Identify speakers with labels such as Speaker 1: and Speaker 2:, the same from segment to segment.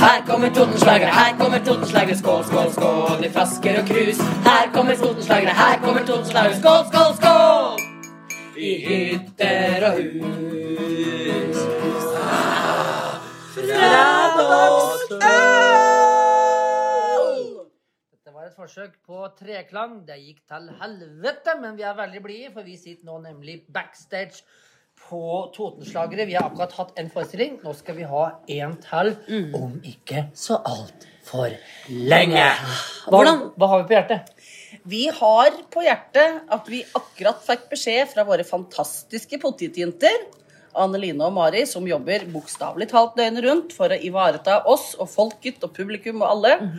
Speaker 1: Her kommer Totenslagere, her kommer Totenslagere. Skål, skål, skål i flasker og krus. Her kommer Totenslagere, her kommer Totenslagere. Skål, skål, skål! I hytter og hus.
Speaker 2: Det var et forsøk på treklang. Det gikk til helvete, men vi er veldig blide, for vi sitter nå nemlig backstage på Totenslagere. Vi har akkurat hatt en forestilling. Nå skal vi ha en til,
Speaker 3: Mm.
Speaker 2: om ikke så altfor lenge. Hva,
Speaker 3: Hvordan-
Speaker 2: hva har vi på hjertet?
Speaker 3: Vi har på hjertet at vi akkurat fikk beskjed fra våre fantastiske potetjenter, Anne Line og Mari, som jobber bokstavelig talt døgnet rundt for å ivareta oss og folket og publikum og alle,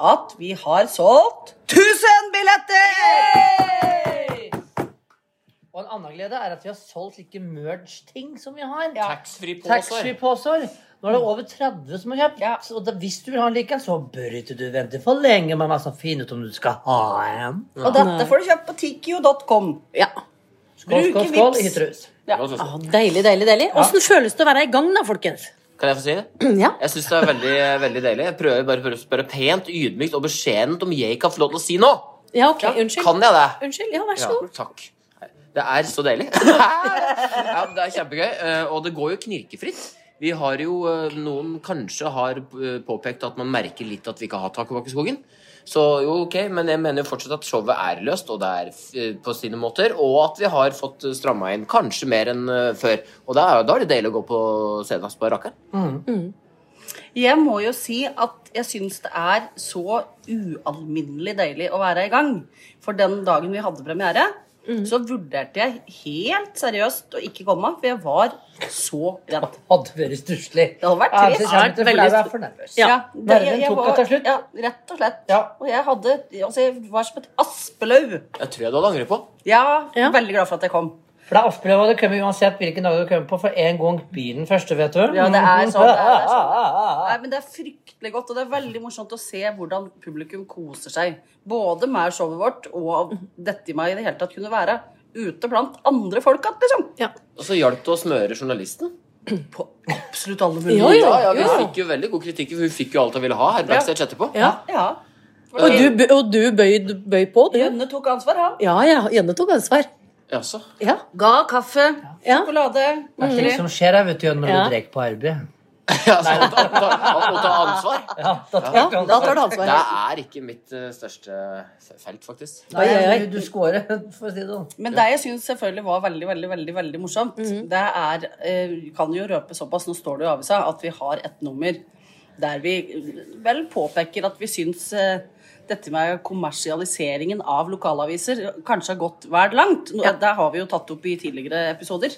Speaker 3: at vi har solgt 1000 billetter!
Speaker 2: Og en annen glede er at vi har solgt like merge-ting som vi har.
Speaker 4: Taxfree-poser.
Speaker 2: Taxfree-poser. Nå er det over 30 som har kjøpt.
Speaker 3: Mm. Ja.
Speaker 2: Så da, hvis du vil ha en like, så bør ikke du vente for lenge med meg, så finn ut om du skal ha en.
Speaker 3: Og dette får du kjøpt på tikio.com.
Speaker 4: Ja.
Speaker 3: Bruke
Speaker 2: Skål, skål, skål
Speaker 3: Vipps.
Speaker 2: i hytterhus.
Speaker 3: Ja.
Speaker 4: Godt, Susanne.
Speaker 5: Ah, deilig, deilig, deilig. Åssen føles det å være i gang, da, folkens?
Speaker 4: Kan jeg få si det?
Speaker 5: Mm, Ja.
Speaker 4: Jeg syns det er veldig, eh, veldig deilig. Jeg prøver bare å spørre pent, ydmykt og beskjedent om jeg kan få lov til å si noe.
Speaker 5: Ja, ok, unnskyld.
Speaker 4: Kan jeg det?
Speaker 5: Unnskyld, ja, vær så
Speaker 4: Ja,
Speaker 5: god.
Speaker 4: takk. Det er så deilig. ja, det er kjempegøy. eh, Og det går jo knirkefritt. Vi har jo eh, Noen kanskje har eh, påpekt at man merker litt at vi ikke har taket bak i skogen. Så jo, ok, men jeg mener jo fortsatt at showet er løst, og det er eh, på sine måter. Og at vi har fått eh, stramma inn kanskje mer enn eh, før. Og da er, da er det deilig å gå på scenen på rakkeren.
Speaker 3: Jeg må jo si at jeg syns det er så ualminnelig deilig å være i gang. For den dagen vi hadde premiere,
Speaker 2: Mm.
Speaker 3: så vurderte jeg helt seriøst å ikke komme. For jeg var så redd.
Speaker 2: Hadde vært stusslig.
Speaker 3: Det hadde vært
Speaker 2: Ja,
Speaker 3: trist.
Speaker 2: så kjempe-
Speaker 5: Det hadde vært
Speaker 2: for
Speaker 5: veldig
Speaker 2: jeg var for nervøs.
Speaker 5: Ja.
Speaker 3: det,
Speaker 2: Nerven tok
Speaker 3: var-
Speaker 2: henne til slutt.
Speaker 3: Ja, rett og slett.
Speaker 2: Ja.
Speaker 3: Og jeg hadde Altså, jeg var som et aspelauv.
Speaker 4: Jeg tror jeg du hadde angret på.
Speaker 3: Ja,
Speaker 5: Ja.
Speaker 3: veldig glad for at jeg kom.
Speaker 2: For det er Aspeløv, og det kommer uansett hvilken dag du kommer på, for en gang blir den første, vet du. Mm.
Speaker 3: Ja, det er sånn, det er
Speaker 2: sånn.
Speaker 3: Nei, men Det er fryktelig godt, og det er veldig morsomt å se hvordan publikum koser seg. Både med showet vårt og dette i meg i det hele tatt kunne være ute blant andre folk at, liksom.
Speaker 4: Og så hjalp det å smøre journalisten.
Speaker 3: På absolutt alle
Speaker 5: Jo,
Speaker 3: mulige
Speaker 5: jo,
Speaker 4: Ja, ja, Vi
Speaker 5: jo.
Speaker 4: fikk jo veldig god kritikk. for Hun fikk jo alt hun ville ha her backstage etterpå.
Speaker 5: Ja.
Speaker 3: Ja.
Speaker 5: Og du, bø- og du bøyd, bøy på, du?
Speaker 3: Jønne tok ansvar, han.
Speaker 5: Ja, ja, Janne tok ansvar.
Speaker 4: Jaså.
Speaker 5: Ja.
Speaker 3: Ga kaffe,
Speaker 5: Ja. Mm.
Speaker 3: sjokolade,
Speaker 2: Det er ting
Speaker 3: godteri.
Speaker 2: som skjer her, vet du, når
Speaker 5: Ja.
Speaker 2: du drikker på arbeid.
Speaker 4: Ja, så å ta, å ta, å ta ansvar.
Speaker 2: Ja, da tar
Speaker 5: ja,
Speaker 2: du
Speaker 5: da
Speaker 2: ansvar.
Speaker 5: tar du
Speaker 4: Det
Speaker 5: ansvar.
Speaker 4: er ikke mitt eh, største f- felt, faktisk.
Speaker 2: Nei,
Speaker 5: Oi, oi, oi.
Speaker 2: du, du scorer, for å si det sånn.
Speaker 3: Men det jeg syns selvfølgelig var veldig veldig, veldig, veldig morsomt, det er eh, Vi kan jo røpe såpass, nå står det jo i avisa, at vi har et nummer der vi eh, vel påpeker at vi syns eh, dette med kommersialiseringen av lokalaviser kanskje har gått vel langt. Nå, Det har vi jo tatt opp i tidligere episoder.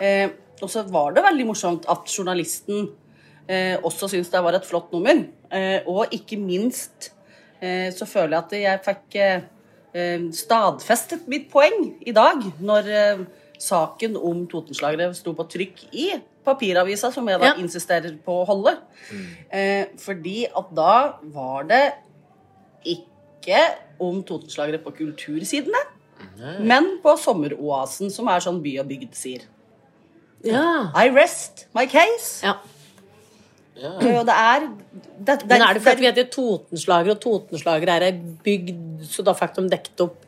Speaker 3: Eh, og så var det veldig morsomt at journalisten eh, også syntes det var et flott nummer. Eh, og ikke minst eh, så føler jeg at jeg fikk eh, eh, stadfestet mitt poeng i dag, når eh, saken om Totenslagere sto på trykk i papiravisa, som jeg da
Speaker 5: Ja.
Speaker 3: insisterer på å holde. Eh, fordi at da var det ikke om Totenslagere på kultursidene, men på Sommeroasen, som er sånn by og bygd sier.
Speaker 5: Ja.
Speaker 3: I rest my case.
Speaker 5: ja.
Speaker 3: Og det er det, det,
Speaker 5: Men er det fordi vi heter Totenslager, og Totenslager er ei bygd, så da fikk de dekt opp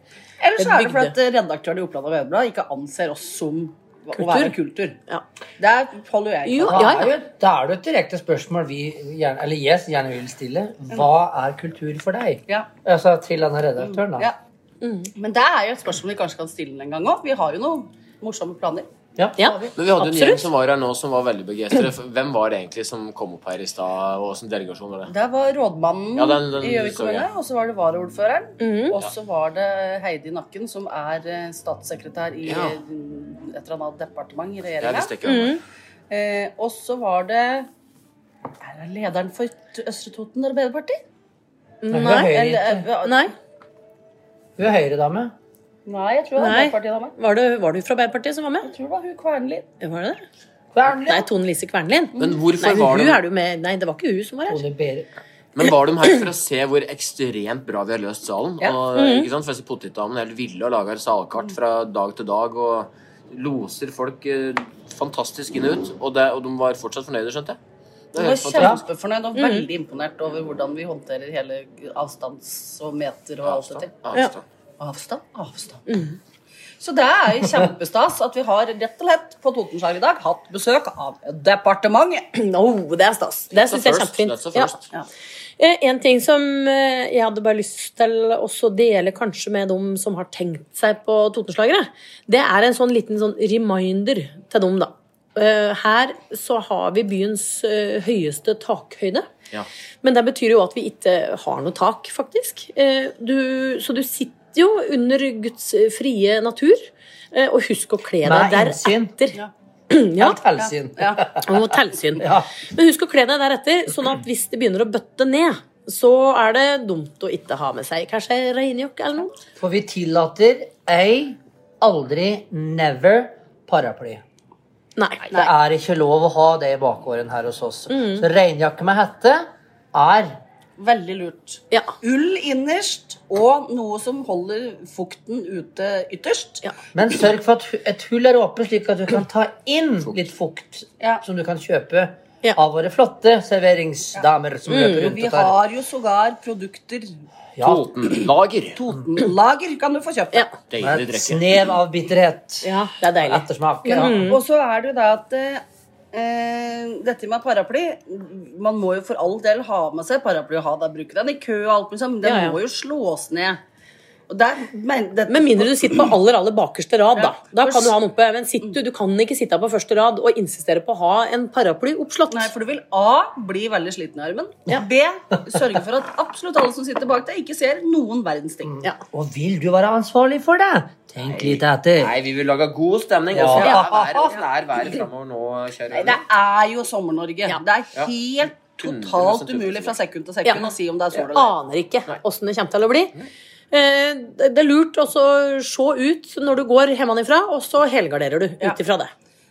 Speaker 3: Ellers er det fordi
Speaker 5: bygde?
Speaker 3: at redaktøren i Oppland Arbeiderblad ikke anser oss som å være kultur.
Speaker 5: Ja.
Speaker 3: Der holder jeg
Speaker 5: Jo,
Speaker 3: ikke.
Speaker 2: Da
Speaker 5: ja,
Speaker 2: er
Speaker 5: ja.
Speaker 2: jo, da er det jo et direkte spørsmål vi gjerne, eller yes, gjerne vil stille. Hva er kultur for deg?
Speaker 3: Ja.
Speaker 2: Altså til denne redaktøren, da.
Speaker 3: Ja.
Speaker 5: Mm.
Speaker 3: Men det er jo et spørsmål vi kanskje kan stille en gang òg. Vi har jo noen morsomme planer.
Speaker 2: Ja.
Speaker 5: Ja.
Speaker 4: Men vi hadde en gjeng
Speaker 5: Absolutt.
Speaker 4: som var her nå som var veldig begeistret. Hvem var det egentlig som kom opp her i stad, og som delegasjon var det?
Speaker 3: Der var rådmannen
Speaker 4: Ja, den- den
Speaker 3: i Gjøvik
Speaker 4: så jeg.
Speaker 3: kommune, og så var det varaordføreren.
Speaker 5: Mm.
Speaker 3: Og så var det Heidi Nakken, som er eh, statssekretær i
Speaker 4: Ja.
Speaker 3: eh, et eller annet departement i
Speaker 4: Jeg
Speaker 3: regjeringa.
Speaker 4: visste ikke hvem det
Speaker 5: Mm.
Speaker 4: var.
Speaker 3: Eh, og så var det Er det lederen for T- Østre Toten Arbeiderparti?
Speaker 2: Hun er
Speaker 3: Eller,
Speaker 2: høyre,
Speaker 3: eh,
Speaker 5: Mm, Nei,
Speaker 2: hun er høyredame.
Speaker 3: nei, jeg tror det var
Speaker 5: Nei.
Speaker 3: Arbeiderpartiet. da,
Speaker 5: var det, var det hun fra Arbeiderpartiet som var med?
Speaker 3: Jeg tror det var hun Kvernli.
Speaker 5: Var det det?
Speaker 2: Kvernli.
Speaker 5: Nei, Tone Lise Kvernlien.
Speaker 4: Men
Speaker 5: Nei,
Speaker 4: hvorfor var
Speaker 5: hun er
Speaker 4: de,
Speaker 5: du med. Nei, det var ikke hun som var her.
Speaker 2: Tone Bere-
Speaker 4: men var de her for å se hvor ekstremt bra vi har løst salen? Og,
Speaker 5: Mm.
Speaker 4: ikke sant? For jeg ser Potetdamene helt ville og lager salkart fra dag til dag og loser folk eh, fantastisk inn og ut. Og, det, og de var fortsatt fornøyde, skjønte jeg. Det er
Speaker 3: Jeg var
Speaker 4: helt fantastisk.
Speaker 3: kjempefornøyd og veldig imponert over hvordan vi håndterer hele avstands og meter og alt dette.
Speaker 4: Avstand. Avstand.
Speaker 3: Avstand, avstand. Så det er jo kjempestas at vi har rett og slett på Totenslag i dag hatt besøk av departementet.
Speaker 5: Oh, det er stas. Det
Speaker 4: That's the
Speaker 5: syns jeg er
Speaker 4: first, that's
Speaker 5: kjempefint.
Speaker 4: the
Speaker 5: Ja.
Speaker 4: first.
Speaker 3: Ja.
Speaker 5: Eh, En ting som eh, jeg hadde bare lyst til også å dele kanskje med dem som har tenkt seg på Totenslagere, det er en sånn liten sånn reminder til dem, da. Eh, Her så har vi byens eh, høyeste takhøyde.
Speaker 4: Ja.
Speaker 5: Men det betyr jo at vi ikke har noe tak, faktisk. Eh, Du, så du sitter jo under Guds frie natur. eh, Og husk å kle deg
Speaker 2: Med innsyn.
Speaker 5: deretter.
Speaker 3: Ja.
Speaker 5: Ja,
Speaker 2: Helsyn.
Speaker 3: Ja.
Speaker 5: og tilsyn.
Speaker 2: Ja.
Speaker 5: Men husk å kle deg deretter, sånn at hvis det begynner å bøtte ned, så er det dumt å ikke ha med seg kanskje regnjakke eller noe.
Speaker 2: For vi tillater ei, aldri, never paraply.
Speaker 5: Nei.
Speaker 2: Det er ikke lov å ha det i bakgården her hos oss. Så regnjakke med hette er
Speaker 3: Veldig lurt.
Speaker 5: Ja.
Speaker 3: Ull innerst og noe som holder fukten ute ytterst.
Speaker 5: Ja.
Speaker 2: Men sørg for at hu- et hull er åpent, slik at du kan ta inn litt fukt
Speaker 3: Ja.
Speaker 2: som du kan kjøpe
Speaker 5: Ja.
Speaker 2: av våre flotte serveringsdamer som løper rundt
Speaker 3: Vi
Speaker 2: og tar
Speaker 3: har jo sågar produkter.
Speaker 2: ja,
Speaker 4: Totenlager.
Speaker 3: Totenlager kan du få kjøpt.
Speaker 5: Ja.
Speaker 2: med
Speaker 4: mm, Deilig
Speaker 2: et
Speaker 4: drikke.
Speaker 2: snev av bitterhet.
Speaker 5: ja. Det er deilig.
Speaker 2: Ettersmak. Ja.
Speaker 5: Mm.
Speaker 3: Og så er det jo det at eh, dette med paraply Man må jo for all del ha med seg paraply og ha det, bruke den i kø og alt mulig sånn, men den
Speaker 5: Ja, ja.
Speaker 3: må jo slås ned. Og der, men, det,
Speaker 5: Med mindre du sitter på aller aller bakerste rad, da. Da
Speaker 3: Ja.
Speaker 5: kan du ha den oppe. Men sitter, du du kan ikke sitte på første rad og insistere på å ha en paraply oppslått.
Speaker 3: Nei, for du vil A. Bli veldig sliten i armen. B. Sørge for at absolutt alle som sitter bak deg, ikke ser noen verdens ting.
Speaker 5: Ja.
Speaker 2: Og vil du være ansvarlig for det? Tenk litt etter.
Speaker 4: Nei, vi vil lage god stemning.
Speaker 2: Ja.
Speaker 4: Åssen
Speaker 2: Ja.
Speaker 4: er været- åssen er været framover nå, kjære
Speaker 3: Nei, det er jo Sommer-Norge.
Speaker 5: Ja.
Speaker 3: Det er helt totalt umulig fra sekund til sekund
Speaker 5: Ja.
Speaker 3: å si om det er sol eller
Speaker 5: Aner ikke åssen det kommer til å bli. Eh, Det det er lurt å så se ut når du går hjemmefra, og så helgarderer du ut ifra det.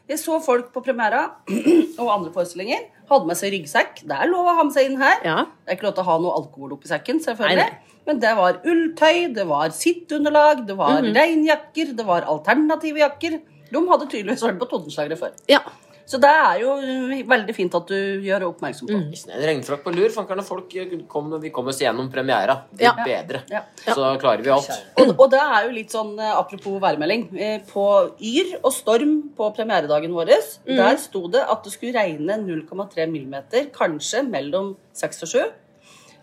Speaker 3: Jeg så folk på premiera og andre forestillinger. Hadde med seg ryggsekk. Det er lov å ha med seg inn her.
Speaker 5: Ja.
Speaker 3: Det er ikke lov til å ha noe alkohol oppi sekken, selvfølgelig.
Speaker 5: Nei, nei.
Speaker 3: Men det var ulltøy, det var sitteunderlag, det var
Speaker 5: Mhm.
Speaker 3: regnjakker, det var alternative jakker. De hadde tydeligvis vært på Totenslagere før.
Speaker 5: Ja.
Speaker 3: Så det er jo eh, veldig fint at du gjør oppmerksom
Speaker 5: Mhm.
Speaker 3: på. det.
Speaker 4: En regnfrakk på lur. Fankerne, folk kom, vi kom oss gjennom premiera. Det
Speaker 5: Ja.
Speaker 4: gikk bedre.
Speaker 3: Ja.
Speaker 4: Så klarer vi alt.
Speaker 3: Og, og det er jo litt sånn, eh, apropos værmelding, eh, på Yr og Storm på premieredagen vår,
Speaker 4: Mm.
Speaker 3: der sto det at det skulle regne 0,3 millimeter, kanskje mellom 6 og 7.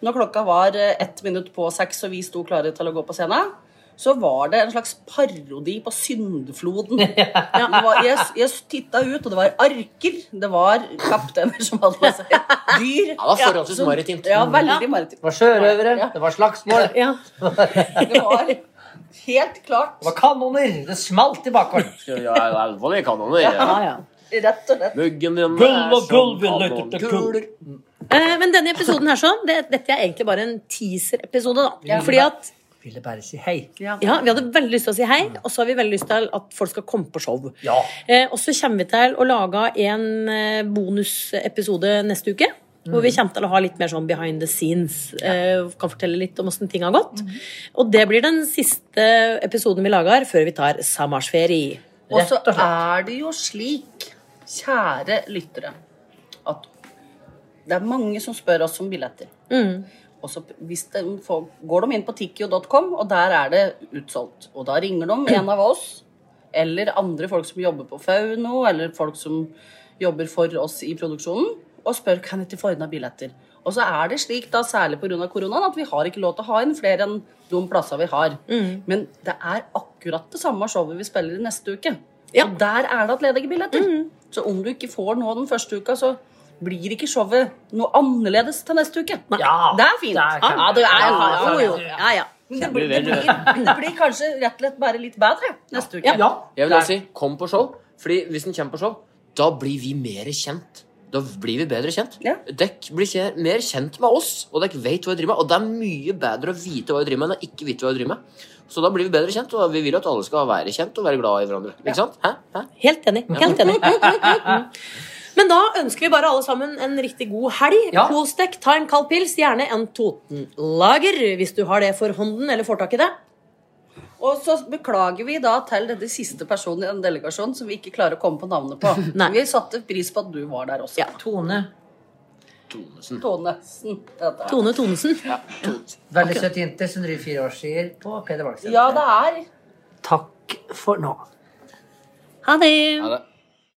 Speaker 3: Når klokka var eh, ett minutt på seks og vi sto klare til å gå på scenen, så var det en slags parodi på syndfloden. Det var, jeg jeg titta ut, og det var arker, det var kapteiner som hadde med seg dyr.
Speaker 4: Ja, det var forholdsvis maritimt.
Speaker 3: Ja, veldig maritimt.
Speaker 2: Det var sjørøvere,
Speaker 3: Ja.
Speaker 2: det var slagsmål,
Speaker 5: ja.
Speaker 3: Det var helt klart
Speaker 2: det var kanoner. Det smalt i bakgården.
Speaker 4: Skal vi ha alvorlige kanoner? Ja.
Speaker 5: ja, ja.
Speaker 3: rett og slett.
Speaker 4: Muggen din
Speaker 2: Gulv
Speaker 4: er
Speaker 2: og
Speaker 4: som
Speaker 2: gulv vil lytte til
Speaker 4: kanonkuler.
Speaker 5: Eh, Men denne episoden her sånn, det, dette er egentlig bare en teaser-episode. da. Fordi at
Speaker 2: Ville bare si hei.
Speaker 5: ja, Vi hadde veldig lyst til å si hei, og så har vi veldig lyst til at folk skal komme på show.
Speaker 2: Ja.
Speaker 5: Eh, og så kommer vi til å lage en eh, bonusepisode neste uke. Hvor vi
Speaker 2: Mm.
Speaker 5: kommer til å ha litt mer sånn behind the scenes. Eh, kan fortelle litt om åssen ting har gått.
Speaker 2: Mm.
Speaker 5: Og det blir den siste episoden vi lager før vi tar sommerferie.
Speaker 3: Og så
Speaker 2: Rett og slett.
Speaker 3: er det jo slik, kjære lyttere, at det er mange som spør oss om billetter.
Speaker 5: Mm.
Speaker 3: Og så hvis de får, går de inn på tikkio.com, og der er det utsolgt. Og da ringer de en av oss, eller andre folk som jobber på Fauno, eller folk som jobber for oss i produksjonen, og spør kan jeg ikke få ordna billetter. Og så er det slik, da, særlig pga. koronaen, at vi har ikke lov til å ha inn flere enn de plassene vi har. Men det er akkurat det samme showet vi spiller i neste uke.
Speaker 5: Ja.
Speaker 3: Og der er det at ledige billetter. Så om du ikke får nå den første uka, så blir ikke showet noe annerledes til neste uke.
Speaker 2: Ja.
Speaker 3: Det er fint. Ah,
Speaker 2: Det er klart.
Speaker 3: ja, det er,
Speaker 2: Ja,
Speaker 5: Jo, jo.
Speaker 2: ja.
Speaker 5: Ja, ja.
Speaker 3: Men det blir, det, blir, det blir kanskje rett og slett bare litt bedre neste uke.
Speaker 2: Ja.
Speaker 4: Jeg vil også si, kom på show. Fordi hvis den kommer på show, da blir vi mer kjent. Da blir vi bedre kjent.
Speaker 3: Ja.
Speaker 4: Dekk blir kje- mer kjent med oss, og dekk vet hva vi driver med. Og det er mye bedre å vite hva vi driver med, enn å ikke vite hva vi driver med. Så da blir vi bedre kjent, og vi vil at alle skal være kjent og være glad i hverandre. Ikke sant? Hæ? Hæ?
Speaker 5: Helt enig. Helt enig. Mm. Men da ønsker vi bare alle sammen en riktig god helg.
Speaker 2: Ja.
Speaker 5: Kos deg, ta en kald pils, gjerne en Totenlager hvis du har det for hånden eller får tak i det.
Speaker 3: Og så beklager vi da til denne siste personen i den delegasjonen som vi ikke klarer å komme på navnet på.
Speaker 5: Nei.
Speaker 3: Vi satte pris på at du var der også.
Speaker 5: Ja.
Speaker 2: Tone
Speaker 4: Tonesen.
Speaker 3: Tonesen. heter det.
Speaker 5: Tone Tonesen.
Speaker 2: Veldig søt jente som driver fireårsskier på Peder Valgsen.
Speaker 3: Ja, det er
Speaker 2: Takk for nå.
Speaker 5: Ha det.
Speaker 4: Ha det.